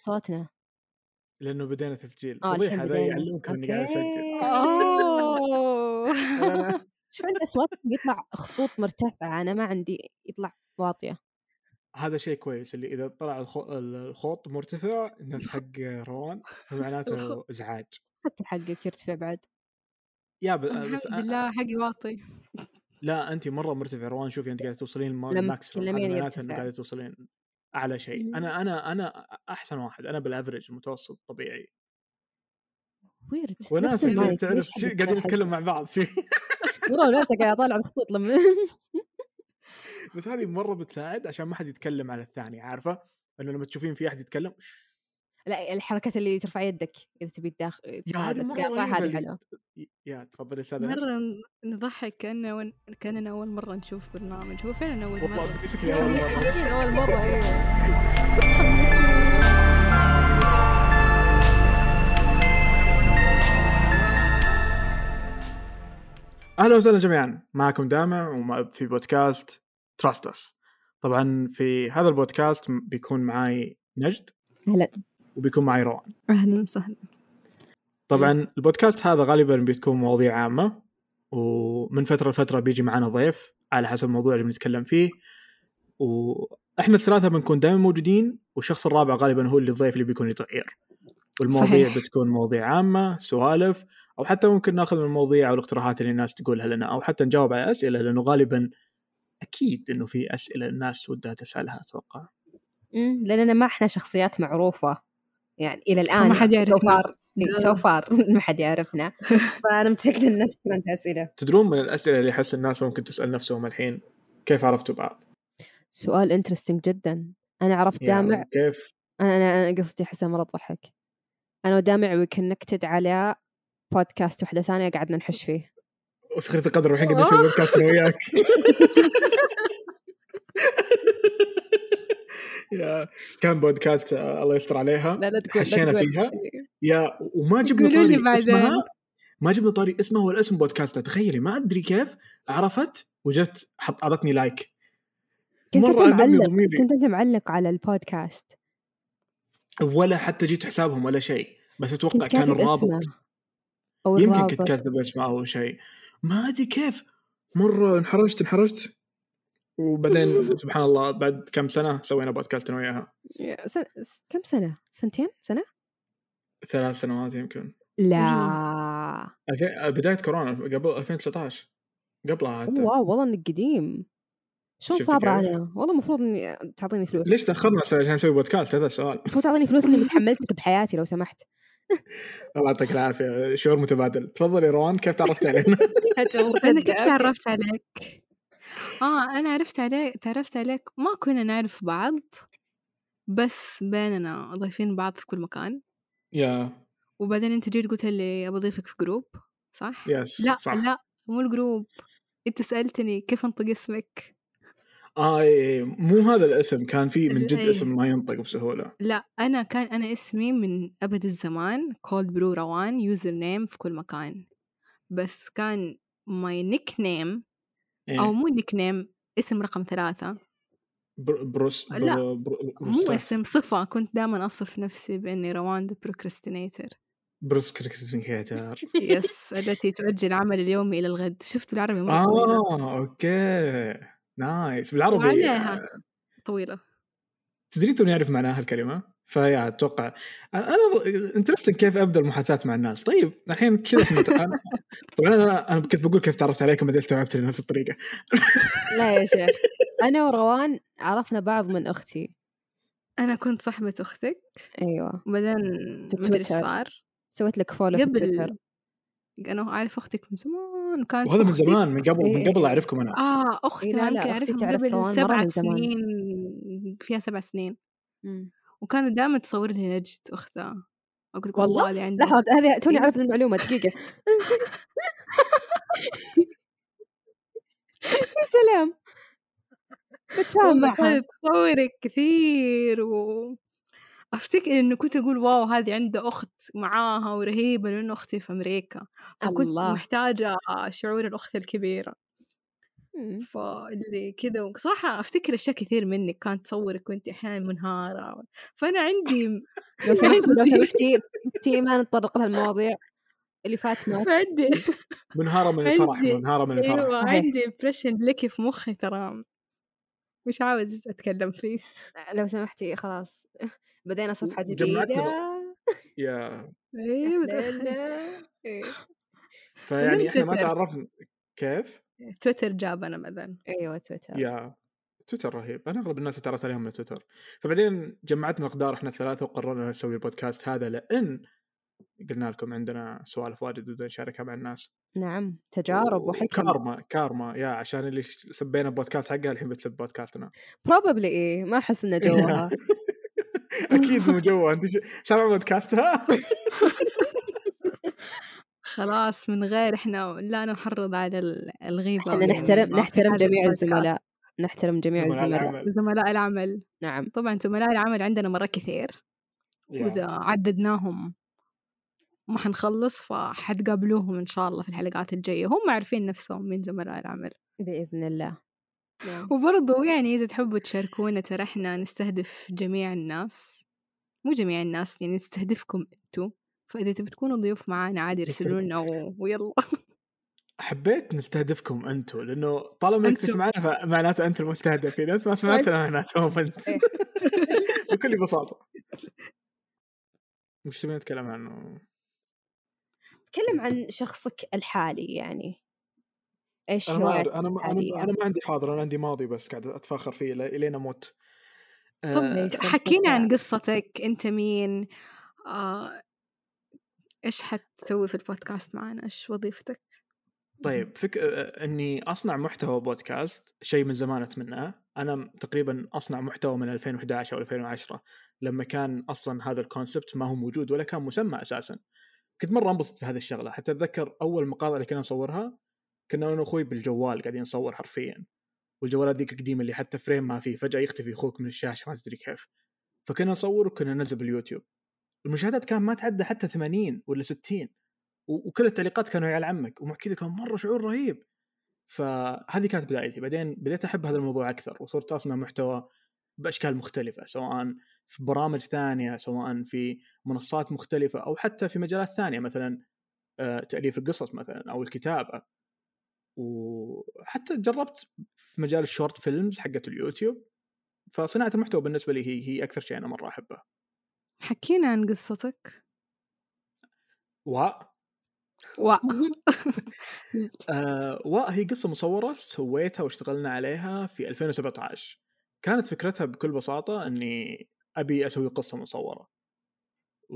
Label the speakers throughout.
Speaker 1: صوتنا.
Speaker 2: لإنه بدينا تسجيل،
Speaker 1: آه، الحين
Speaker 2: فضيحة ذا
Speaker 1: بدينا،
Speaker 2: يعلّمكم إني قاعد أسجّل.
Speaker 3: أوكي.
Speaker 1: أوه!
Speaker 2: أنا
Speaker 1: آه. شوف أنت صوتكم يطلع خطوط مرتفعة، أنا ما عندي يطلع واطية.
Speaker 2: هذا شيء كويس، اللي إذا طلع الخو ال الخوط مرتفع نفس
Speaker 1: الخ
Speaker 2: حق روان،
Speaker 3: الخ
Speaker 2: فمعناته إزعاج.
Speaker 1: حتى حقك يرتفع بعد.
Speaker 2: يا ب آه، بس أ
Speaker 3: الحمد
Speaker 2: أ
Speaker 3: لله حقي واطي.
Speaker 2: لا، أنتِ مرة مرتفعة روان، شوفي أنتِ قاعدة توصلين الم
Speaker 1: لمّا
Speaker 2: الماكسيمم، هذا
Speaker 1: تتكلمين
Speaker 2: معناته إنه
Speaker 1: يرتفع.
Speaker 2: قاعدة توصلين أعلى شيء.
Speaker 3: إمم.
Speaker 2: أنا أنا أنا أ أحسن واحد، أنا بالaverage المتوسط الطبيعي.
Speaker 1: weird نفس
Speaker 2: وناسة كذا
Speaker 1: المايك،
Speaker 2: تعرف
Speaker 1: ليش
Speaker 2: ش
Speaker 1: حقك ما
Speaker 2: قاعدين
Speaker 1: يحسّن؟
Speaker 2: نتكلم مع بعض شي
Speaker 1: والله وناسة قاعدة أطالع الخطوط لمّا
Speaker 2: بس هذه مرة بتساعد عشان ما حد يتكلم على الثاني، عارفة؟ إنه لمّا تشوفين في أحد يتكلم ش
Speaker 1: لأ، الحركات اللي ترفع يدك إذا تبي تداخ
Speaker 2: يا
Speaker 1: تساعده
Speaker 2: هذه
Speaker 1: تقاطع
Speaker 2: يعني مرة رهيبة
Speaker 1: هذه
Speaker 2: اللي
Speaker 1: حلوة.
Speaker 2: ي يا تفضلي أستاذة نجد.
Speaker 3: مرة ن نضحّك كأنه ون كأننا أول مرة نشوف برنامج، هو فعلًا أول
Speaker 2: والله
Speaker 3: مرة، بس
Speaker 2: بيسكلي أول مرة
Speaker 3: متحمسين.
Speaker 1: فعليًا أول مرة
Speaker 3: إيه.
Speaker 1: أيوه.
Speaker 3: متحمسين.
Speaker 2: أهلًا وسهلًا جميعًا، معكم دامع وم في بودكاست Trust Us. طبعًا في هذا البودكاست م بيكون معاي نجد
Speaker 1: أهلًا.
Speaker 2: وبيكون معاي روان.
Speaker 3: أهلًا وسهلًا.
Speaker 1: حلو.
Speaker 2: طبعًا البودكاست هذا غالبًا بتكون مواضيع عامة، ومن فترة لفترة بيجي معانا ضيف على حسب الموضوع اللي بنتكلم فيه، وإحنا ال3 بنكون دايمًا موجودين، والشخص الرابع غالبًا هو اللي الضيف اللي بيكون يتغير. والمواضيع
Speaker 3: صحيح.
Speaker 2: بتكون مواضيع عامة، سوالف، أو حتى ممكن ناخذ من المواضيع أو الاقتراحات اللي الناس تقولها لنا، أو حتى نجاوب على أسئلة، لأنه غالبًا أكيد إنه في أسئلة الناس ودها تسألها أتوقع.
Speaker 1: إمم، لأننا ما إحنا شخصيات معروفة، يعني إلى
Speaker 3: فما
Speaker 1: الآن
Speaker 3: حد
Speaker 1: so
Speaker 3: يعرفنا.
Speaker 1: far so
Speaker 3: آه.
Speaker 1: far ما حد يعرفنا، فأنا متأكدة إن الناس بيكون عندها أسئلة.
Speaker 2: تدرون من الأسئلة اللي أحس الناس ممكن تسأل نفسهم الحين، كيف عرفتوا بعض؟
Speaker 1: سؤال interesting جدًا. أنا عرفت دامع
Speaker 2: يعني كيف
Speaker 1: أنا أنا أنا قصتي أحسها مرة تضحّك. أنا ودامع we connected على بودكاست وحدة ثانية قعدنا نحُش فيه.
Speaker 2: وسخرية القدر والحين قاعدين نسوي
Speaker 3: آه.
Speaker 2: بودكاست أنا وياك. يا كان بودكاست آآ الله يستر عليها،
Speaker 1: لا، لا تقول لا
Speaker 2: حشينا
Speaker 1: تقول
Speaker 2: فيها، يا وما جبنا
Speaker 3: قولوا لي
Speaker 2: طاري اسمها،
Speaker 3: بعدين.
Speaker 2: ما جبنا طاري اسمها ولا اسم بودكاستها، تخيلي ما أدري كيف عرفت وجت حط أعطتني لايك.
Speaker 1: كنت أنت
Speaker 2: مرة أنمي
Speaker 1: معلّق،
Speaker 2: ضميري.
Speaker 1: كنت أنت معلّق على البودكاست.
Speaker 2: ولا حتى جيت حسابهم ولا شيء، بس أتوقع
Speaker 1: كنت
Speaker 2: كان
Speaker 1: كاتب اسمه
Speaker 2: الرابط
Speaker 1: أو
Speaker 2: يمكن كنت
Speaker 1: الرابط.
Speaker 2: كاتب اسمه أو شيء، ما أدري كيف مرة انحرجت، انحرجت، وبعدين سبحان الله بعد كم سنة سوينا بودكاست أنا وياها.
Speaker 1: يا سن س كم سنة؟ سنتين؟ سنة؟
Speaker 2: 3 سنوات يمكن.
Speaker 3: إمم.
Speaker 1: لا.
Speaker 2: ألفين آآ بداية كورونا قبل 2019 قبلها حتى.
Speaker 1: واو! والله إنك قديم. شلون
Speaker 2: شفتِ
Speaker 1: صابرة
Speaker 2: كيف؟
Speaker 1: أنا؟ والله المفروض إني تعطيني
Speaker 2: ليش
Speaker 1: فلوس.
Speaker 2: تأخرنا س عشان نسوي بودكاست هذا السؤال؟
Speaker 1: المفروض تعطيني فلوس إني متحمّلتك بحياتي لو سمحت.
Speaker 2: الله يعطيك العافية، شعور متبادل. تفضلي روان كيف تعرفتِ علينا؟
Speaker 1: فجأة
Speaker 3: أنا
Speaker 1: مرتدة
Speaker 3: كيف
Speaker 1: أوكي.
Speaker 3: تعرفت عليك؟ آه، أنا عرفت عليك تعرفت عليك ما كنا نعرف بعض، بس بيننا ضايفين بعض في كل مكان.
Speaker 2: يا
Speaker 3: وبعدين أنت جيت قُلت لي أبى أضيفك في group صح؟
Speaker 2: يس
Speaker 3: لأ،
Speaker 2: صح.
Speaker 3: لأ، مو الgroup أنت سألتني كيف أنطق اسمك؟
Speaker 2: آه، أي، أي، مو هذا الاسم، كان في من
Speaker 3: ال
Speaker 2: جد
Speaker 3: أيه.
Speaker 2: اسم ما ينطق بسهولة.
Speaker 3: لأ، أنا كان أنا اسمي من أبد الزمان cold brew روان user name في كل مكان، بس كان my nickname أو
Speaker 2: إيه.
Speaker 3: مو nickname اسم رقم 3.
Speaker 2: بر بروس بر
Speaker 3: لأ،
Speaker 2: بر
Speaker 3: مو
Speaker 2: بروستات.
Speaker 3: اسم، صفة، كنت دايمًا أصف نفسي بإني روان the procrastinator.
Speaker 2: Procrastinator.
Speaker 3: يس، التي تؤجل عمل اليوم إلى الغد، شفت بالعربي مرة طويلة.
Speaker 2: آه، أوكي، نايس بالعربي
Speaker 3: وعليها
Speaker 2: آآ
Speaker 3: طويلة.
Speaker 2: تدرين توني أعرف معناها الكلمة؟ فيا أتوقع أنا أنا interesting كيف أبدأ المحادثات مع الناس. طيب الحين كذا إحنا ت أنا طبعًا أنا أنا كنت باقول كيف تعرفت عليكم بعدين استوعبت إنها نفس الطريقة.
Speaker 1: لا يا شيخ، أنا وروان عرفنا بعض من أختي.
Speaker 3: أنا كنت صاحبة أختك،
Speaker 1: أيوه.
Speaker 3: وبعدين
Speaker 1: في
Speaker 3: ما أدري إيش
Speaker 1: Twitter.
Speaker 3: صار.
Speaker 1: سويت لك follow في Twitter.
Speaker 3: قبل أنا أعرف أختك من زمان، كانت
Speaker 2: وهذا من
Speaker 3: أختي
Speaker 2: زمان من قبل من
Speaker 1: إيه.
Speaker 2: قبل أعرفكم أنا.
Speaker 3: آه،
Speaker 1: إي
Speaker 3: أختها
Speaker 1: لا،
Speaker 3: يمكن
Speaker 1: لا، أختي
Speaker 3: أعرفها من
Speaker 1: تعرف
Speaker 3: قبل
Speaker 1: روان مرة
Speaker 3: 7
Speaker 1: من زمان.
Speaker 3: سنين، فيها 7 سنين.
Speaker 1: إمم.
Speaker 3: وكانت دايمًا تصور لي نجد أختها، أقول لك
Speaker 1: والله!
Speaker 3: والله اللي عندي
Speaker 1: لحظة
Speaker 3: نجد
Speaker 1: هذه توني
Speaker 3: أختي.
Speaker 1: عارفة المعلومة دقيقة. يا سلام! باتفاهم
Speaker 3: والله
Speaker 1: معها.
Speaker 3: كانت تصورك كثير و أفتكر إنه كنت أقول واو هذه عندها أخت معاها ورهيبة لأنه أختي في أمريكا، فكنت
Speaker 1: الله!
Speaker 3: محتاجة شعور الأخت الكبيرة.
Speaker 1: مم.
Speaker 3: فاللي كذا صراحة أفتكر أشياء كثير منك كانت تصورك وأنت أحيانا منهارة فأنا عندي
Speaker 1: لو سمحتي لو سمحتي تي ما نتطرق لهالمواضيع اللي فات ما
Speaker 3: عندي
Speaker 2: منهاره من الفرح
Speaker 3: عندي-
Speaker 2: منهاره من الفرح
Speaker 3: أيوة
Speaker 1: صحيح.
Speaker 3: عندي impression لك في مخي ترى مش عاوز أتكلم فيه
Speaker 1: لو سمحتي خلاص بدينا صفحة
Speaker 2: جمعتنا
Speaker 1: جديدة
Speaker 2: يا
Speaker 3: إيه بتأخر.
Speaker 1: ليلى.
Speaker 3: إيه.
Speaker 2: فيعني احنا ما
Speaker 3: تويتر.
Speaker 2: تعرفنا كيف
Speaker 3: تويتر جابنا مثلا
Speaker 1: ايوه تويتر
Speaker 2: يا تويتر رهيب انا اغلب الناس تعرفت عليهم من تويتر فبعدين جمعتنا اقدار احنا الثلاثه وقررنا نسوي البودكاست هذا لان قلنا لكم عندنا سوالف واجد ودنا نشاركها مع الناس
Speaker 1: نعم تجارب وحكم
Speaker 2: كارما كارما يا عشان اللي ش- سبينا بودكاست حقها الحين بتسب بودكاستنا
Speaker 1: بروبلي ايه ما احس انه جوها
Speaker 2: اكيد مو جوا انت ش- سامع بودكاستها
Speaker 3: خلاص من غير احنا لا نحرض على ال- الغيبة
Speaker 1: احنا
Speaker 3: يعني
Speaker 1: نحترم
Speaker 3: ما في
Speaker 1: نحترم
Speaker 3: هذا
Speaker 1: جميع
Speaker 3: البودكاست.
Speaker 1: الزملاء نحترم جميع
Speaker 2: زملاء
Speaker 1: الزملاء
Speaker 2: العمل.
Speaker 3: زملاء العمل
Speaker 1: نعم
Speaker 3: طبعا زملاء العمل عندنا مرة كثير
Speaker 2: يا.
Speaker 3: وإذا عددناهم ما حنخلص فحتقابلوهم إن شاء الله في الحلقات الجاية هم عارفين نفسهم من زملاء العمل
Speaker 1: باذن الله نعم.
Speaker 3: وبرضو يعني إذا تحبوا تشاركونا ترى إحنا نستهدف جميع الناس مو جميع الناس يعني نستهدفكم أنتوا فإذا تبي تكونوا ضيوف معانا عادي ارسلوا لنا و- ويلا
Speaker 2: حبيت نستهدفكم انتم لانه طالما انك
Speaker 3: أنتو.
Speaker 2: تسمعنا فمعناته انت المستهدف اذا انت ما سمعتنا معناته هو انت
Speaker 1: إيه.
Speaker 2: بكل بساطه مش تبين نتكلم عنه
Speaker 1: تكلم عن شخصك الحالي يعني ايش
Speaker 2: انا ما
Speaker 1: هواياتك
Speaker 2: أعرف- انا ما
Speaker 1: الحالية؟
Speaker 2: انا انا ما عندي حاضر انا عندي ماضي بس قاعد اتفاخر فيه ل- الين اموت آه،
Speaker 3: طب
Speaker 1: ليس
Speaker 3: حكينا عن
Speaker 1: الفكرة.
Speaker 3: قصتك انت مين آه، ايش حتسوي في البودكاست معنا ايش وظيفتك
Speaker 2: طيب فك... آه، اني اصنع محتوى بودكاست شيء من زمان اتمناه انا م- تقريبا اصنع محتوى من 2011 او 2010 لما كان اصلا هذا الكونسبت ما هو موجود ولا كان مسمى اساسا كنت مره انبسط في هذه الشغله حتى اتذكر اول مقاطع اللي كنا نصورها كنا انا واخوي بالجوال قاعدين نصور حرفيا والجوالات ذيك القديمه اللي حتى فريم ما فيه فجاه يختفي اخوك من الشاشه ما تدري كيف فكنا نصور وكنا ننزل باليوتيوب المشاهدات كان ما تعدى حتى 80 ولا 60 و- وكل التعليقات كانوا يا عيال عمك ومع كذا كان مره شعور رهيب فهذه كانت بدايتي بعدين بديت احب هذا الموضوع اكثر وصرت اصنع محتوى باشكال مختلفه سواء في برامج ثانيه سواء في منصات مختلفه او حتى في مجالات ثانيه مثلا آه، تاليف القصص مثلا او الكتابه وحتى جربت في مجال الشورت فيلمز حقت اليوتيوب فصناعه المحتوى بالنسبه لي هي هي اكثر شيء انا مره احبه
Speaker 3: حكينا عن قصتك
Speaker 2: و
Speaker 3: و
Speaker 2: آه وهي قصه مصوره سويتها واشتغلنا عليها في 2017 كانت فكرتها بكل بساطه اني ابي اسوي قصه مصوره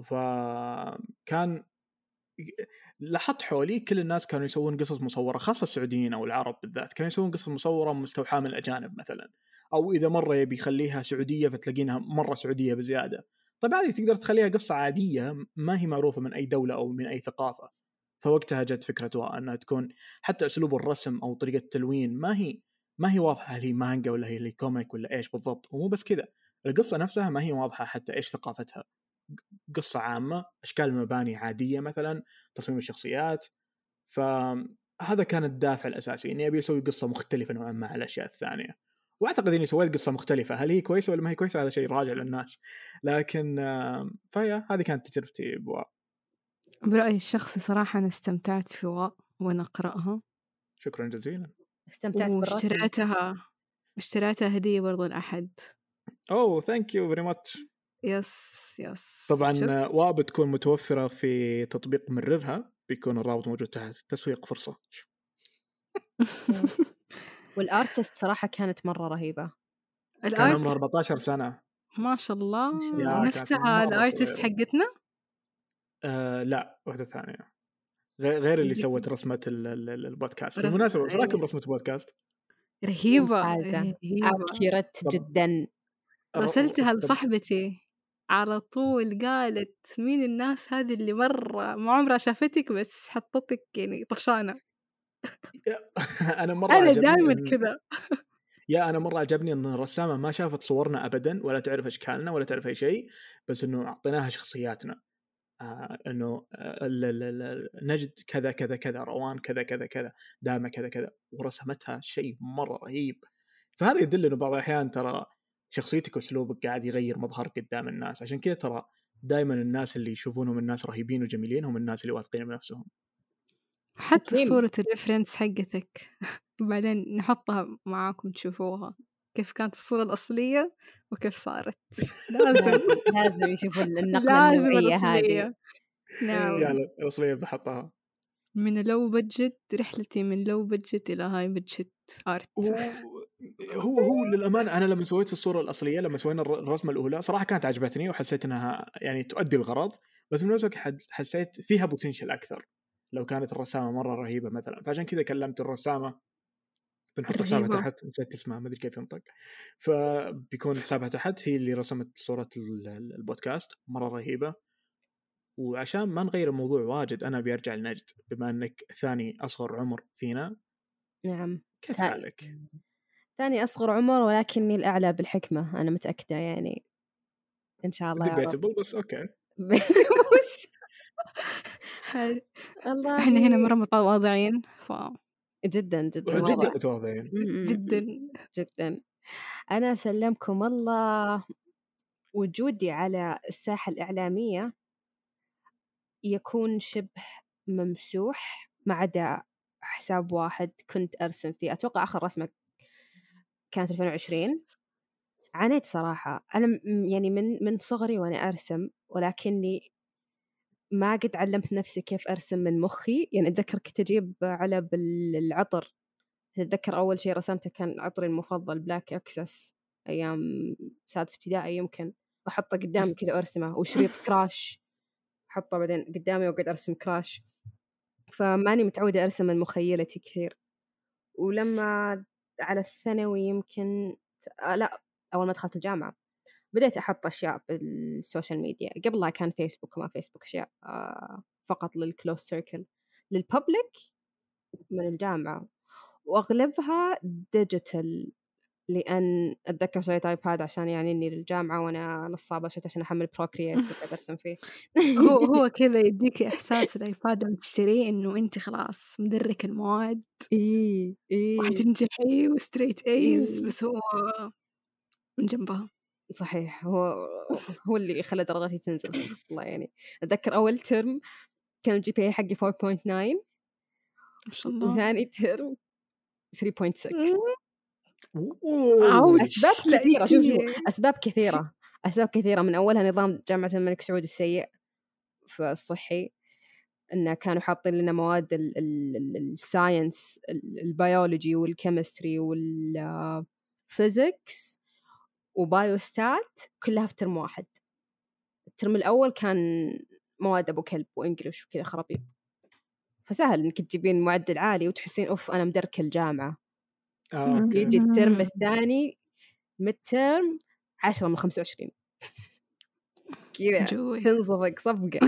Speaker 2: فكان لاحظت حولي كل الناس كانوا يسوون قصص مصوره خاصه السعوديين او العرب بالذات كانوا يسوون قصص مصوره مستوحاه من الاجانب مثلا او اذا مره يبي يخليها سعوديه فتلاقينها مره سعوديه بزياده طيب عادي تقدر تخليها قصه عاديه ما هي معروفه من اي دوله او من اي ثقافه فوقتها جت فكره وا انها تكون حتى اسلوب الرسم او طريقه التلوين ما هي ما هي واضحه هل هي مانجا ولا هي كوميك ولا ايش بالضبط ومو بس كذا القصه نفسها ما هي واضحه حتى ايش ثقافتها قصه عامه اشكال المباني عاديه مثلا تصميم الشخصيات فهذا كان الدافع الاساسي اني ابي اسوي قصه مختلفه نوعا ما على الاشياء الثانيه واعتقد اني سويت قصه مختلفه هل هي كويسه ولا ما هي كويسه هذا شيء راجع للناس لكن آم، فيا هذه كانت تجربتي بوا
Speaker 3: برأيي الشخصي صراحة أنا استمتعت في و وأنا أقرأها
Speaker 2: شكرا جزيلا
Speaker 1: استمتعت بالرسم
Speaker 3: واشتريتها اشتريتها هدية برضو لأحد
Speaker 2: اوه ثانك يو فيري ماتش
Speaker 3: يس يس
Speaker 2: طبعا
Speaker 3: شوف،
Speaker 2: آه، وبتكون متوفره في تطبيق مررها بيكون الرابط موجود تحت تسويق فرصه
Speaker 1: والارتست صراحه كانت مره رهيبه
Speaker 2: كان عمره
Speaker 3: الارتست
Speaker 2: 14 سنه
Speaker 3: ما شاء الله
Speaker 1: ما شاء الله.
Speaker 2: يا، كانت مرة
Speaker 3: نفسها الارتست
Speaker 2: صغيرة.
Speaker 3: حقتنا
Speaker 2: آه لا واحده ثانيه غير غير اللي
Speaker 3: اللي-
Speaker 2: سوت رسمه ال- ال- ال- البودكاست
Speaker 3: رسمة،
Speaker 2: بالمناسبه ايش رايكم
Speaker 3: أيوة.
Speaker 2: برسمه البودكاست؟
Speaker 3: رهيبة
Speaker 1: ممتازة.
Speaker 3: رهيبة
Speaker 1: اكيوريت
Speaker 2: طب-
Speaker 1: جدا
Speaker 3: رسلتها لصاحبتي على طول قالت مين الناس هذه اللي مرة ما عمرها شافتك بس حطتك يعني طفشانة
Speaker 2: انا مره
Speaker 3: أنا
Speaker 2: عجبني
Speaker 3: دائما
Speaker 2: إن-
Speaker 3: كذا
Speaker 2: يا انا مره عجبني ان الرسامه ما شافت صورنا ابدا ولا تعرف اشكالنا ولا تعرف اي شيء بس انه اعطيناها شخصياتنا آه انه آه ال- ال- ال- نجد كذا كذا كذا روان كذا كذا كذا دامه كذا كذا ورسمتها شيء مره رهيب فهذا يدل انه بعض الاحيان ترى شخصيتك واسلوبك قاعد يغير مظهرك قدام الناس عشان كذا ترى دائما الناس اللي يشوفونهم الناس رهيبين وجميلين هم الناس اللي واثقين بنفسهم
Speaker 3: حتى
Speaker 1: أكيد.
Speaker 3: صورة الريفرنس حقتك وبعدين نحطها معاكم تشوفوها كيف كانت الصورة الأصلية وكيف صارت لازم
Speaker 1: لازم يشوفوا النقله
Speaker 3: لازم
Speaker 1: النوعيه هذه إيه،
Speaker 3: الأصلية نعم
Speaker 2: يعني الاصليه بحطها
Speaker 3: من لو بجد رحلتي من لو بجد إلى هاي بجد آرت
Speaker 2: هو هو هو للامانه انا لما سويت الصوره الاصليه لما سوينا الر- الرسمه الاولى صراحه كانت عجبتني وحسيت انها يعني تؤدي الغرض بس من نفس الوقت حد- حسيت فيها بوتنشل اكثر لو كانت الرسامه مره رهيبه مثلا فعشان كذا كلمت الرسامه بنحط حسابها
Speaker 3: رهيبة.
Speaker 2: تحت نسيت اسمها ما ادري كيف ينطق فبيكون حسابها تحت هي اللي رسمت صوره ال- ال- البودكاست مره رهيبه وعشان ما نغير الموضوع واجد انا بيرجع لنجد بما انك ثاني اصغر عمر فينا
Speaker 1: نعم
Speaker 2: كيف
Speaker 1: طيب.
Speaker 2: حالك؟
Speaker 1: ثاني أصغر عمر ولكني الأعلى بالحكمة أنا متأكدة يعني إن شاء الله يا رب
Speaker 2: debatable بس اوكي
Speaker 1: بيتبوس. يعني الله
Speaker 3: احنا هنا مرة متواضعين ف
Speaker 1: جدا جدا
Speaker 2: جدا
Speaker 1: مرة.
Speaker 2: متواضعين
Speaker 1: م- م-
Speaker 3: جدا
Speaker 1: جدا أنا سلمكم الله وجودي على الساحة الإعلامية يكون شبه ممسوح ما عدا حساب واحد كنت أرسم فيه أتوقع آخر رسمة كانت 2020 عانيت صراحة أنا م- يعني من من صغري وأنا أرسم ولكني ما قد علمت نفسي كيف أرسم من مخي يعني أتذكر كنت أجيب علب ال- العطر أتذكر أول شيء رسمته كان عطري المفضل بلاك أكسس أيام سادس ابتدائي يمكن أحطه قدامي كذا وأرسمه وشريط كراش أحطه بعدين قدامي وأقعد أرسم كراش فماني متعودة أرسم من مخيلتي كثير ولما على الثانوي يمكن آه، لا أول ما دخلت الجامعة بديت أحط أشياء بالسوشيال ميديا قبلها كان فيسبوك وما فيسبوك أشياء آه، فقط للكلوز سيركل للببليك من الجامعة وأغلبها ديجيتال لأن أتذكر شريت آيباد عشان يعني إني للجامعة وأنا نصابة شريت عشان أحمل بروكريت وأقعد أرسم فيه
Speaker 3: هو هو كذا يديك إحساس الإيباد لما تشتريه إنه أنت خلاص مدرك المواد
Speaker 1: إيه إيه
Speaker 3: وحتنجحي وستريت ايز
Speaker 1: إيه.
Speaker 3: بس هو من جنبها
Speaker 1: صحيح هو هو اللي خلى درجاتي تنزل استغفر الله يعني اتذكر اول ترم كان الجي بي اي حقي 4.9
Speaker 3: ما شاء الله
Speaker 1: وثاني ترم 3.6
Speaker 3: أوه.
Speaker 1: اسباب
Speaker 3: لا،
Speaker 1: كثيره شوف شوف
Speaker 3: كتير.
Speaker 1: اسباب كثيره اسباب كثيره من اولها نظام جامعه الملك سعود السيء فالصحي انه كانوا حاطين لنا مواد ال- ال- ال- الساينس ال- البيولوجي والكيمستري آه، والفيزيكس وبايوستات كلها في ترم واحد الترم الاول كان مواد ابو كلب وانجلش وكذا خرابيط فسهل انك تجيبين معدل عالي وتحسين اوف انا مدركه الجامعه
Speaker 2: آه، أوكي.
Speaker 1: يجي الترم
Speaker 3: مم.
Speaker 1: الثاني ميد ترم 10 من 25 كذا
Speaker 3: جوي
Speaker 1: تنصفق صفقه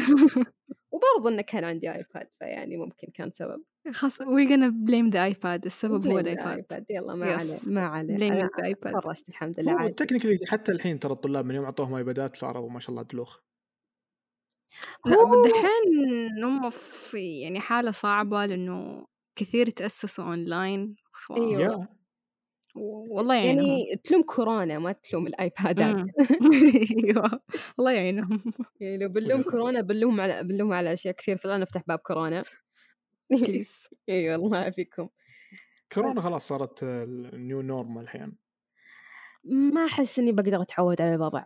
Speaker 1: وبرضه انه كان عندي ايباد فيعني ممكن كان سبب
Speaker 3: خلاص وي gonna blame the iPad السبب هو
Speaker 1: Blame the
Speaker 3: الايباد
Speaker 1: iPad. يلا ما
Speaker 3: Yes.
Speaker 1: عليه ما عليه
Speaker 3: blame
Speaker 1: انا
Speaker 3: the iPad
Speaker 1: تفرجت الحمد لله
Speaker 2: هو
Speaker 1: عادي
Speaker 2: تكنيكلي حتى الحين ترى الطلاب من يوم اعطوهم ايبادات صاروا ما شاء الله دلوخ
Speaker 3: لا
Speaker 1: أوه.
Speaker 3: بس دحين هم في يعني حاله صعبه لانه كثير تاسسوا اونلاين ف...
Speaker 1: أيوة.
Speaker 2: يا
Speaker 3: والله يعينهم
Speaker 1: يعني تلوم كورونا ما تلوم الايبادات
Speaker 3: إمم. ايوه الله يعينهم
Speaker 1: يعني لو بنلوم
Speaker 2: وجهة
Speaker 1: كورونا بنلوم على بنلوم على اشياء كثير فلا نفتح باب كورونا
Speaker 3: بليز
Speaker 1: اي والله يعافيكم
Speaker 2: كورونا خلاص صارت النيو نورمال الحين
Speaker 1: ما احس اني بقدر اتعود على الوضع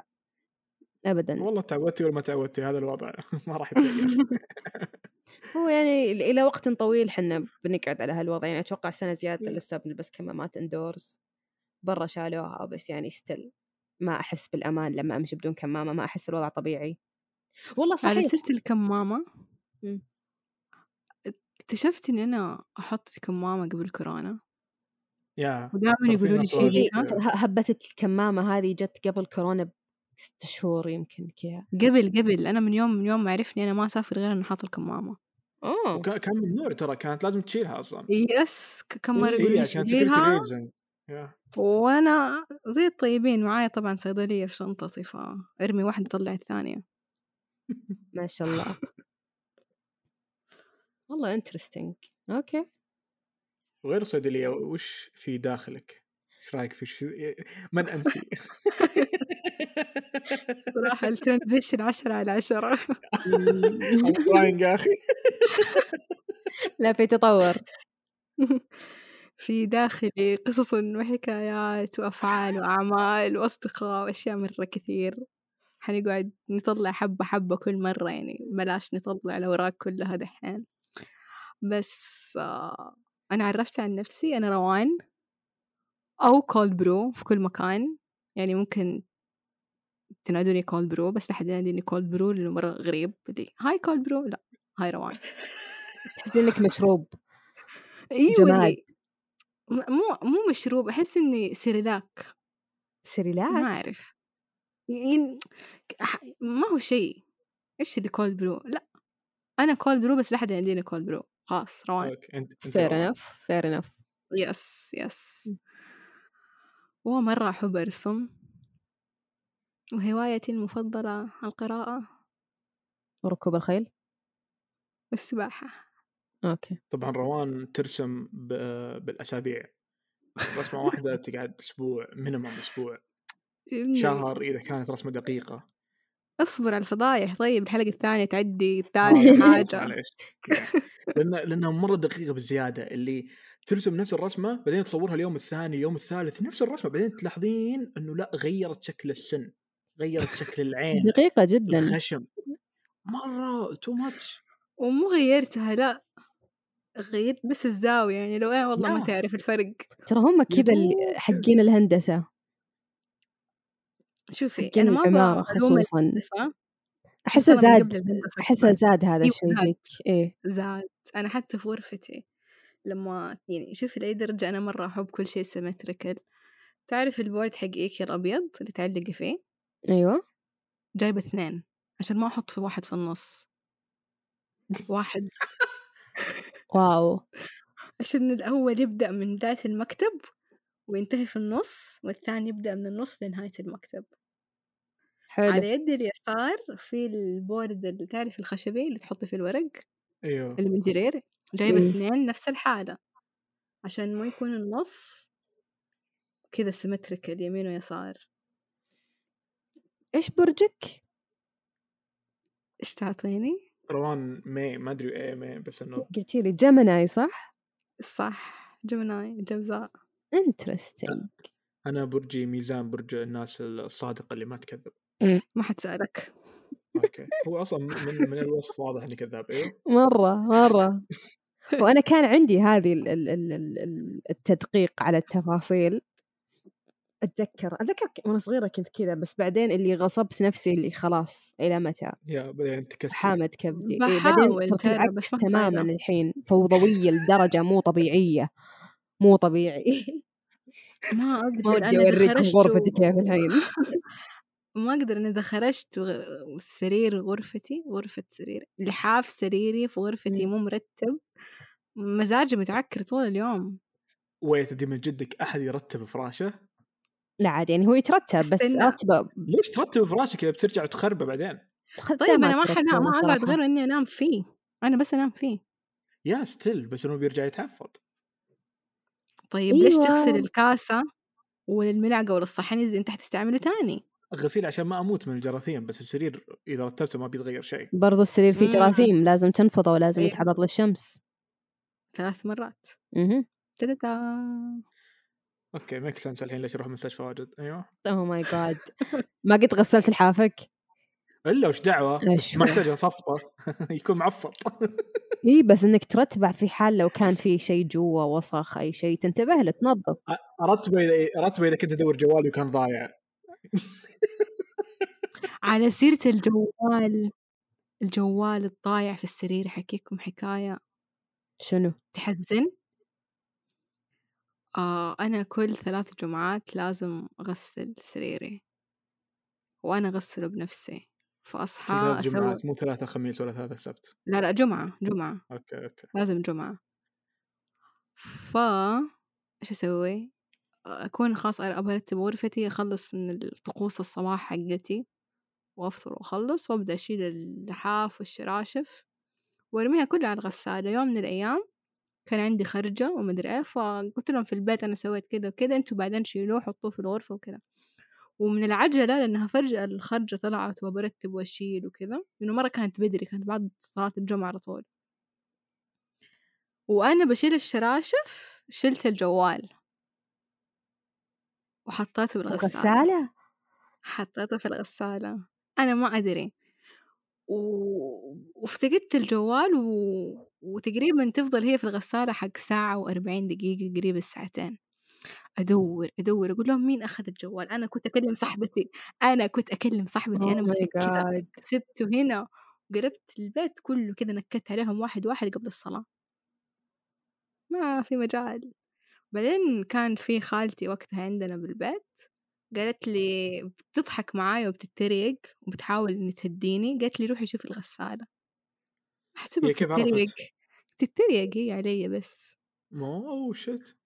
Speaker 1: ابدا
Speaker 2: والله تعودتي ولا ما تعودتي هذا الوضع ما راح يتغير
Speaker 1: هو يعني ل- إلى وقت طويل حنا بنقعد على هالوضع يعني أتوقع سنة زيادة
Speaker 2: مم.
Speaker 1: لسه بنلبس كمامات اندورز برا شالوها بس يعني ستيل ما أحس بالأمان لما أمشي بدون كمامة ما أحس الوضع طبيعي والله صحيح
Speaker 3: على سيرة الكمامة
Speaker 1: مم.
Speaker 3: اكتشفت إني أنا أحط كمامة قبل كورونا
Speaker 2: يا
Speaker 3: ودائما
Speaker 2: طب في
Speaker 3: يقولوا لي
Speaker 2: ناس
Speaker 3: تشيلي
Speaker 1: هي
Speaker 2: واجد-
Speaker 3: ها؟
Speaker 1: ه- هبة الكمامة هذه جت قبل كورونا بست شهور يمكن كذا
Speaker 3: قبل قبل أنا من يوم من يوم ما عرفني أنا ما أسافر غير أنا حاطة الكمامة
Speaker 1: أوه
Speaker 2: وكا- كان ممنوع ترى كانت لازم تشيلها اصلا
Speaker 3: يس ك- كم مرة
Speaker 1: إيه،
Speaker 3: يقولوا
Speaker 2: هي
Speaker 3: لي
Speaker 2: عشان security
Speaker 3: شيليها
Speaker 2: reasons. يا.
Speaker 3: وأنا زي الطيبين معايا طبعا صيدلية في شنطتي فأرمي واحدة طلع الثانية
Speaker 1: ما شاء الله والله انترستنج اوكي
Speaker 2: وغير الصيدليه وش في داخلك؟ ايش رايك في ش... من انت؟
Speaker 3: صراحة الترانزيشن عشرة على عشرة
Speaker 2: I'm crying يا اخي
Speaker 1: لا في تطور
Speaker 3: في داخلي قصص وحكايات وأفعال وأعمال وأصدقاء وأشياء مرة كثير حنقعد نطلع حبة حبة كل مرة يعني بلاش نطلع الأوراق كلها دحين بس آه، أنا عرفت عن نفسي أنا روان أو كولد برو في كل مكان يعني ممكن تنادوني كولد برو بس لا حد يناديني كولد برو لأنه مرة غريب بدي هاي كولد برو لا هاي روان
Speaker 1: تحزين لك مشروب
Speaker 3: ايوه
Speaker 1: جماد.
Speaker 3: اللي- م- مو مو مشروب احس اني سيريلاك ما
Speaker 1: سريلاك
Speaker 3: اعرف يعني ح- ما هو شيء ايش اللي كولد برو لا انا كولد برو بس لا حد يناديني كولد برو خلاص روان
Speaker 2: اوكي انت انت
Speaker 1: فير انف فير انف
Speaker 3: يس يس ومرة أحب أرسم وهوايتي المفضلة القراءة
Speaker 1: وركوب الخيل
Speaker 3: والسباحة
Speaker 1: اوكي
Speaker 2: طبعا روان ترسم ب... بالاسابيع رسمه واحده تقعد اسبوع مينيمم اسبوع
Speaker 3: إيه.
Speaker 2: شهر اذا كانت رسمه دقيقه
Speaker 3: اصبر على الفضايح طيب الحلقة الثانية تعدي الثالثة
Speaker 2: آه،
Speaker 3: حاجة
Speaker 2: معليش. لان لانها مره دقيقه بزياده اللي ترسم نفس الرسمه بعدين تصورها اليوم الثاني اليوم الثالث نفس الرسمه بعدين تلاحظين انه لا غيرت شكل السن غيرت شكل العين
Speaker 1: دقيقة جدا
Speaker 2: الخشم مره تو ماتش
Speaker 3: ومو غيرتها لا غيرت بس الزاوية يعني لو ايه والله
Speaker 1: آه.
Speaker 3: ما
Speaker 2: لا.
Speaker 3: تعرف الفرق
Speaker 1: ترى هم كذا اللي-
Speaker 2: يدوب.
Speaker 1: حقين الهندسة
Speaker 3: شوفي
Speaker 1: حقين
Speaker 3: انا ما
Speaker 1: العمارة
Speaker 3: أبغى ألوم
Speaker 1: خصوصا
Speaker 3: الهندسة
Speaker 1: احسها
Speaker 3: أنا من قبل
Speaker 1: زاد
Speaker 3: الهندسة
Speaker 1: احسها
Speaker 3: كمان.
Speaker 1: زاد هذا
Speaker 3: إيوه،
Speaker 1: الشيء
Speaker 3: زاد.
Speaker 1: فيك ايه
Speaker 3: زاد أنا حتى في غرفتي لما يعني شوفي لأي درجة أنا مرة أحب كل شيء سيمتريكال تعرف البورد حق إيكيا الأبيض اللي تعلقي فيه
Speaker 1: ايوه
Speaker 3: جايبة اثنين عشان ما أحط في واحد في النص واحد
Speaker 1: واو
Speaker 3: عشان الأول يبدأ من بداية المكتب وينتهي في النص والثاني يبدأ من النص لنهاية المكتب
Speaker 1: حلو
Speaker 3: على يدي اليسار في البورد اللي تعرف الخشبي اللي تحطي فيه الورق
Speaker 2: ايوه
Speaker 3: اللي من جرير جايبة
Speaker 1: مم.
Speaker 3: اثنين نفس الحالة عشان ما يكون النص كذا سيمتريكال يمين ويسار
Speaker 1: ايش برجك؟
Speaker 3: ايش تعطيني؟
Speaker 2: روان مي ما ادري ايه مي بس انه
Speaker 1: قلتي لي جمناي صح؟
Speaker 3: صح جمناي جمزاء
Speaker 1: انترستنج
Speaker 2: انا برجي ميزان برج الناس الصادقه اللي ما تكذب
Speaker 3: ما حد سألك
Speaker 2: اوكي هو اصلا من من الوصف واضح اني كذاب ايوه
Speaker 1: مرة مرة وأنا كان عندي هذه ال- ال- ال- ال- ال- التدقيق على التفاصيل أتذكر أتذكر ك- وأنا صغيرة كنت كذا بس بعدين اللي غصبت نفسي اللي خلاص إلى متى
Speaker 2: يا يعني بعدين انتكست
Speaker 1: حامد كبدي إيه،
Speaker 3: بحاول
Speaker 1: صرت
Speaker 3: ترى،
Speaker 1: العكس
Speaker 3: بس ما في
Speaker 1: تماما
Speaker 3: فايدة.
Speaker 1: الحين فوضوية لدرجة مو طبيعية مو طبيعي
Speaker 3: ما
Speaker 1: ما
Speaker 3: أقدر
Speaker 1: ودي
Speaker 3: أنا إذا
Speaker 1: أوريكم
Speaker 3: خرجت
Speaker 1: غرفتي
Speaker 3: و-
Speaker 1: كيف الحين
Speaker 3: ما أقدر أنا إذا خرجت وغ- والسرير غرفتي غرفة سرير لحاف سريري في غرفتي
Speaker 1: مم.
Speaker 3: مو مرتب مزاجي متعكر طول اليوم
Speaker 2: ويت دي من جدك احد يرتب فراشه
Speaker 1: لا عاد يعني هو يترتب بس
Speaker 3: استنى.
Speaker 1: أرتبه
Speaker 2: ليش ترتب فراشك اذا بترجع وتخربه بعدين
Speaker 3: طيب أنا ما
Speaker 1: خدامات
Speaker 3: حنام ما
Speaker 1: ترتبه
Speaker 3: أقعد
Speaker 1: صراحة.
Speaker 3: غير إني أنام فيه أنا بس أنام فيه
Speaker 2: يا ستيل بس انه بيرجع يتعفط
Speaker 3: طيب ليش
Speaker 2: أيوه.
Speaker 3: تغسل
Speaker 1: أيوة.
Speaker 3: الكاسة ولا الملعقة ولا الصحن إذا أنت حتستعمله تاني
Speaker 2: غسيل عشان ما اموت من الجراثيم بس السرير اذا رتبته ما بيتغير شيء
Speaker 1: برضو السرير فيه
Speaker 3: مم.
Speaker 1: جراثيم لازم تنفضه ولازم
Speaker 3: أيوة.
Speaker 1: يتعرض للشمس
Speaker 3: ثلاث مرات
Speaker 1: اها
Speaker 3: تدتا
Speaker 2: اوكي ميك سنس الحين ليش اروح مستشفى واجد ايوه
Speaker 1: اوه ماي جاد Oh ما قد غسلت لحافك
Speaker 2: الا وش دعوه
Speaker 1: إيش
Speaker 2: ما
Speaker 1: بك؟
Speaker 2: احتاج اصفطه يكون معفط
Speaker 1: اي إيه، بس انك ترتبع في حال لو كان في شيء جوا وسخ اي شيء تنتبه له تنظف
Speaker 2: رتبه اذا رتبه اذا كنت ادور جوالي وكان ضايع
Speaker 3: على سيرة الجوال الجوال الضايع في السرير حكيكم حكاية
Speaker 1: شنو
Speaker 3: تحزن آه أنا كل ثلاث جمعات لازم أغسل سريري وأنا أغسله بنفسي فأصحى
Speaker 2: ثلاث
Speaker 3: أسوي
Speaker 2: جمعات مو ثلاثة خميس ولا ثلاثة سبت
Speaker 3: لا لا جمعة جمعة
Speaker 2: اوكي اوكي
Speaker 3: لازم جمعة ف ايش اسوي؟ اكون خلاص أنا ابى ارتب غرفتي اخلص من الطقوس الصباح حقتي وأفصل وأخلص وأبدأ أشيل اللحاف والشراشف وأرميها كلها على الغسالة يوم من الأيام كان عندي خرجة ومدري إيه فقلت لهم في البيت أنا سويت كذا وكذا أنتوا بعدين شيلوه حطوه في الغرفة وكذا ومن العجلة لأنها فرجة الخرجة طلعت وبرتب وأشيل وكذا لأنه مرة كانت بدري كانت بعد صلاة الجمعة على طول وأنا بشيل الشراشف شلت الجوال وحطيته بالغسالة
Speaker 1: غسالة
Speaker 3: حطيته في الغسالة أنا ما أدري و... وافتقدت الجوال و... وتقريبا تفضل هي في الغسالة حق ساعة وأربعين دقيقة قريب الساعتين أدور أدور أقول لهم مين أخذ الجوال أنا كنت أكلم صاحبتي أنا كنت أكلم صاحبتي أنا
Speaker 1: Oh my
Speaker 3: متأكدة
Speaker 1: God.
Speaker 3: سبته هنا وقلبت البيت كله كذا نكدت عليهم واحد واحد قبل الصلاة ما في مجال بعدين كان في خالتي وقتها عندنا بالبيت قالت لي بتضحك معاي وبتتريق وبتحاول إن تهديني قالت لي روحي شوفي الغسالة
Speaker 2: هي
Speaker 3: أحسبها
Speaker 2: كيف عرفت؟
Speaker 3: بتتريق بتتريق هي علي بس
Speaker 2: مو شت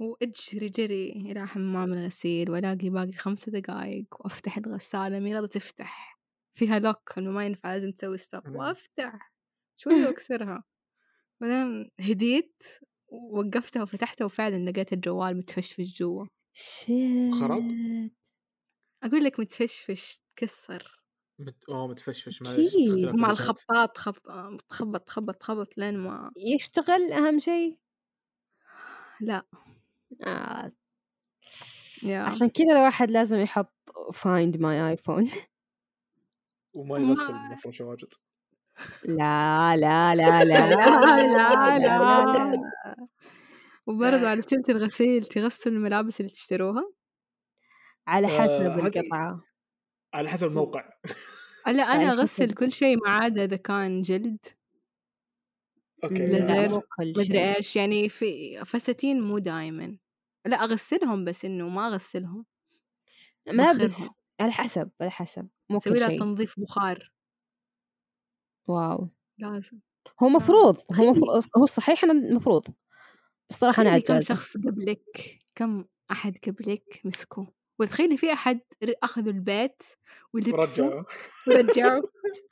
Speaker 3: وأجري جري إلى حمام الغسيل وألاقي باقي خمسة دقايق وأفتح الغسالة مي راضية تفتح فيها لوك إنه ما ينفع لازم تسوي ستوب
Speaker 2: مم.
Speaker 3: وأفتح شوي وأكسرها بعدين هديت ووقفتها وفتحتها وفعلا لقيت الجوال متفشفش جوا
Speaker 2: خرب؟
Speaker 1: Shit.
Speaker 3: أقول لك متفشفش تكسر
Speaker 2: مت... اوه متفشفش
Speaker 1: أكيد.
Speaker 2: معلش اختلاف
Speaker 3: مع
Speaker 2: الوجهات.
Speaker 3: الخباط خبط آه، تخبط خبط خبط لين ما
Speaker 1: يشتغل أهم شيء
Speaker 3: لا
Speaker 1: آه.
Speaker 3: يا
Speaker 1: عشان كذا الواحد لازم يحط find my iphone
Speaker 2: وما
Speaker 3: ما-
Speaker 2: يغسل المفروش واجد
Speaker 1: لا لا لا لا لا لا لا
Speaker 3: وبرضه على سيرة الغسيل تغسل الملابس اللي تشتروها
Speaker 1: على
Speaker 2: آه،
Speaker 1: حسب
Speaker 2: هذه-
Speaker 1: القطعة
Speaker 2: على حسب الموقع
Speaker 3: لا انا
Speaker 1: يعني
Speaker 3: اغسل
Speaker 1: كيف-
Speaker 3: كل شيء ما عدا اذا كان جلد
Speaker 2: اوكي
Speaker 3: للغير.
Speaker 1: مو كل شيء
Speaker 3: مدري ايش يعني في فساتين مو دايما لا اغسلهم بس انه ما اغسلهم
Speaker 1: ملابس
Speaker 3: بخيرهم.
Speaker 1: على حسب على حسب مو
Speaker 3: اسوي
Speaker 1: كل
Speaker 3: لها
Speaker 1: شيء
Speaker 3: تنظيف بخار
Speaker 1: واو
Speaker 3: لازم
Speaker 1: هو مفروض هو
Speaker 3: خلي-
Speaker 1: مفروض هو صحيح انه المفروض بصراحة انا
Speaker 3: تخيلي كم
Speaker 1: عجبت
Speaker 3: شخص قبلك كم احد قبلك مسكوه وتخيلي في احد ر- اخذوا البيت ولبسه
Speaker 2: رجعوا
Speaker 3: ورجعوا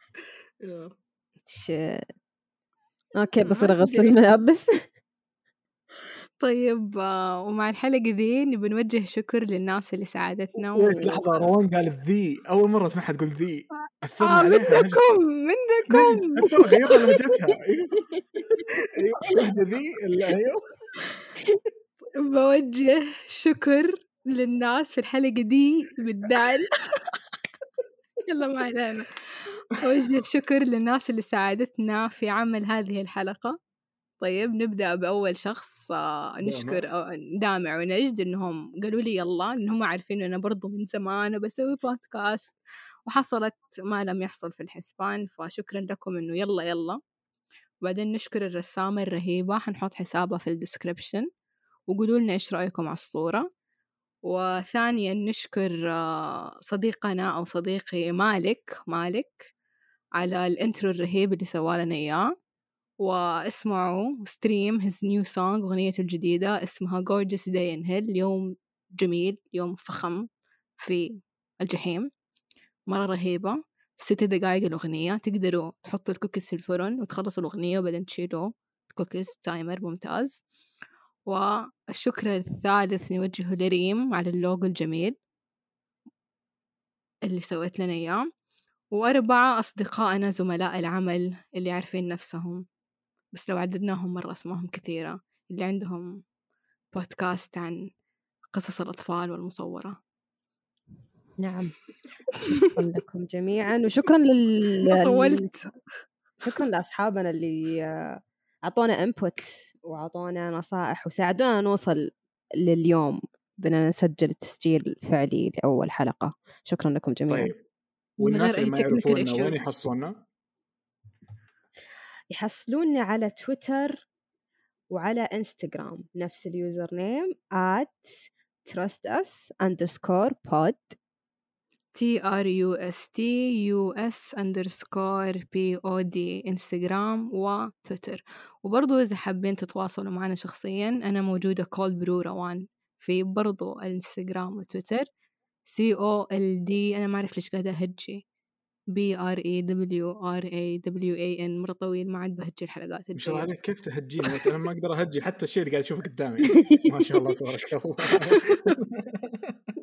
Speaker 2: يا.
Speaker 1: اوكي
Speaker 3: ما
Speaker 1: بصير اغسل
Speaker 3: تدري.
Speaker 1: الملابس
Speaker 3: طيب آه، ومع الحلقه ذي نبي نوجه شكر للناس اللي ساعدتنا
Speaker 2: ويت لحظه روان قالت ذي اول مره اسمعها تقول ذي اثرنا
Speaker 3: آه
Speaker 2: عليها نجد
Speaker 3: منكم منكم
Speaker 2: نجد اثر غيرنا لهجتها ايوه ايوه اللهجه ذي ال- ايوه
Speaker 3: بوجه شكر للناس في الحلقة دي بالذات يلا ما علينا أوجه شكر للناس اللي ساعدتنا في عمل هذه الحلقة طيب نبدأ بأول شخص آه،
Speaker 2: دامع.
Speaker 3: نشكر آه، دامع ونجد إنهم قالوا لي يلا إنهم عارفين إن أنا برضو من زمان بسوي بودكاست وحصلت ما لم يحصل في الحسبان فشكرا لكم إنه يلا يلا وبعدين نشكر الرسامة الرهيبة حنحط حسابها في الديسكربشن وقولوا لنا إيش رأيكم على الصورة وثانيا نشكر آه، صديقنا أو صديقي مالك مالك على الانترو الرهيب اللي سوى لنا إياه واسمعوا ستريم his new song أغنيته الجديدة اسمها Gorgeous Day in Hell يوم جميل يوم فخم في الجحيم مرة رهيبة ست دقايق الأغنية تقدروا تحطوا الكوكيز في الفرن وتخلصوا الأغنية وبعدين تشيلوا الكوكيز تايمر ممتاز والشكر الثالث نوجهه لريم على اللوجو الجميل اللي سويت لنا إياه وأربعة أصدقائنا زملاء العمل اللي عارفين نفسهم بس لو عددناهم مرة اسمائهم كثيرة اللي عندهم بودكاست عن قصص الأطفال والمصورة
Speaker 1: نعم شكرا لكم جميعا وشكرا لل
Speaker 3: طولت
Speaker 1: شكرا لاصحابنا اللي آه، اعطونا انبوت واعطونا نصائح وساعدونا نوصل لليوم بأننا نسجل التسجيل الفعلي لأول حلقة شكرا لكم جميعا
Speaker 2: طيب والناس
Speaker 3: غير
Speaker 2: اللي ما
Speaker 3: أي technical
Speaker 2: يعرفونا وين
Speaker 3: issues.
Speaker 2: يحصلونا؟
Speaker 1: يحصلوني على تويتر وعلى انستغرام نفس اليوزر نيم at trust us underscore pod
Speaker 3: T R U S T U S underscore P O D انستغرام وتويتر وبرضو إذا حابين تتواصلوا معنا شخصيا أنا موجودة كول برو روان في برضو الانستغرام وتويتر C O L D أنا ما أعرف ليش قاعدة أهجي بي ار اي دبليو ار اي دبليو اي ان مرة طويل ما عاد بهجي الحلقات
Speaker 2: ما شاء الله
Speaker 3: الجاية.
Speaker 2: عليك كيف تهجيني أنت؟ انا ما اقدر اهجي حتى الشيء اللي قاعد اشوفه قدامي ما شاء الله تبارك الله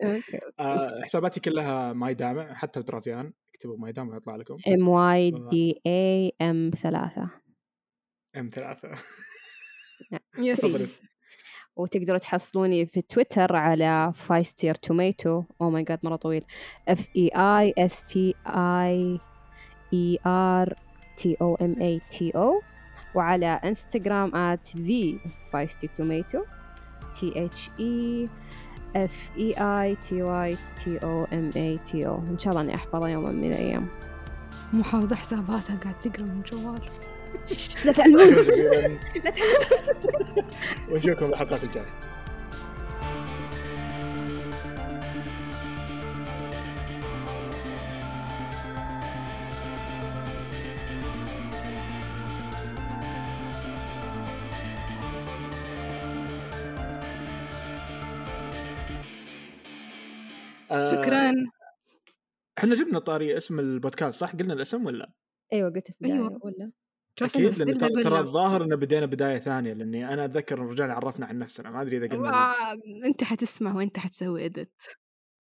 Speaker 1: أوكي.
Speaker 2: آه، حساباتي كلها ماي دامع حتى بترافيان اكتبوا ماي دامع يطلع لكم
Speaker 1: ام واي دي اي ام ثلاثة
Speaker 2: ام ثلاثة
Speaker 1: تفضلي. وتقدروا تحصلوني في تويتر على فايستير توميتو او ماي جاد Oh مرة طويل E اف اي اي اس تي اي اي ار تي او ام اي تي او وعلى انستغرام at the feisty tomato t h e f e i t y t o m a t o ان شاء الله اني احفظها يوما من الايام
Speaker 3: محافظة حساباتها قاعد تقرا من جوال
Speaker 1: لا تعلمون لا
Speaker 2: ونشوفكم الحلقات الجاية آه،
Speaker 3: شكرا
Speaker 2: احنا جبنا طاري اسم البودكاست صح قلنا الاسم ولا
Speaker 1: ايوه قلت في البداية
Speaker 3: أيوة.
Speaker 1: ولا
Speaker 3: ترى
Speaker 2: اكيد لان
Speaker 3: تصدق
Speaker 2: ترى-
Speaker 3: أقول
Speaker 2: ترى
Speaker 3: لك.
Speaker 2: الظاهر انه بدينا بدايه ثانيه لاني انا اتذكر إن رجعنا عرفنا عن نفسنا ما ادري اذا قلنا
Speaker 3: آه، انت حتسمع وانت حتسوي ادت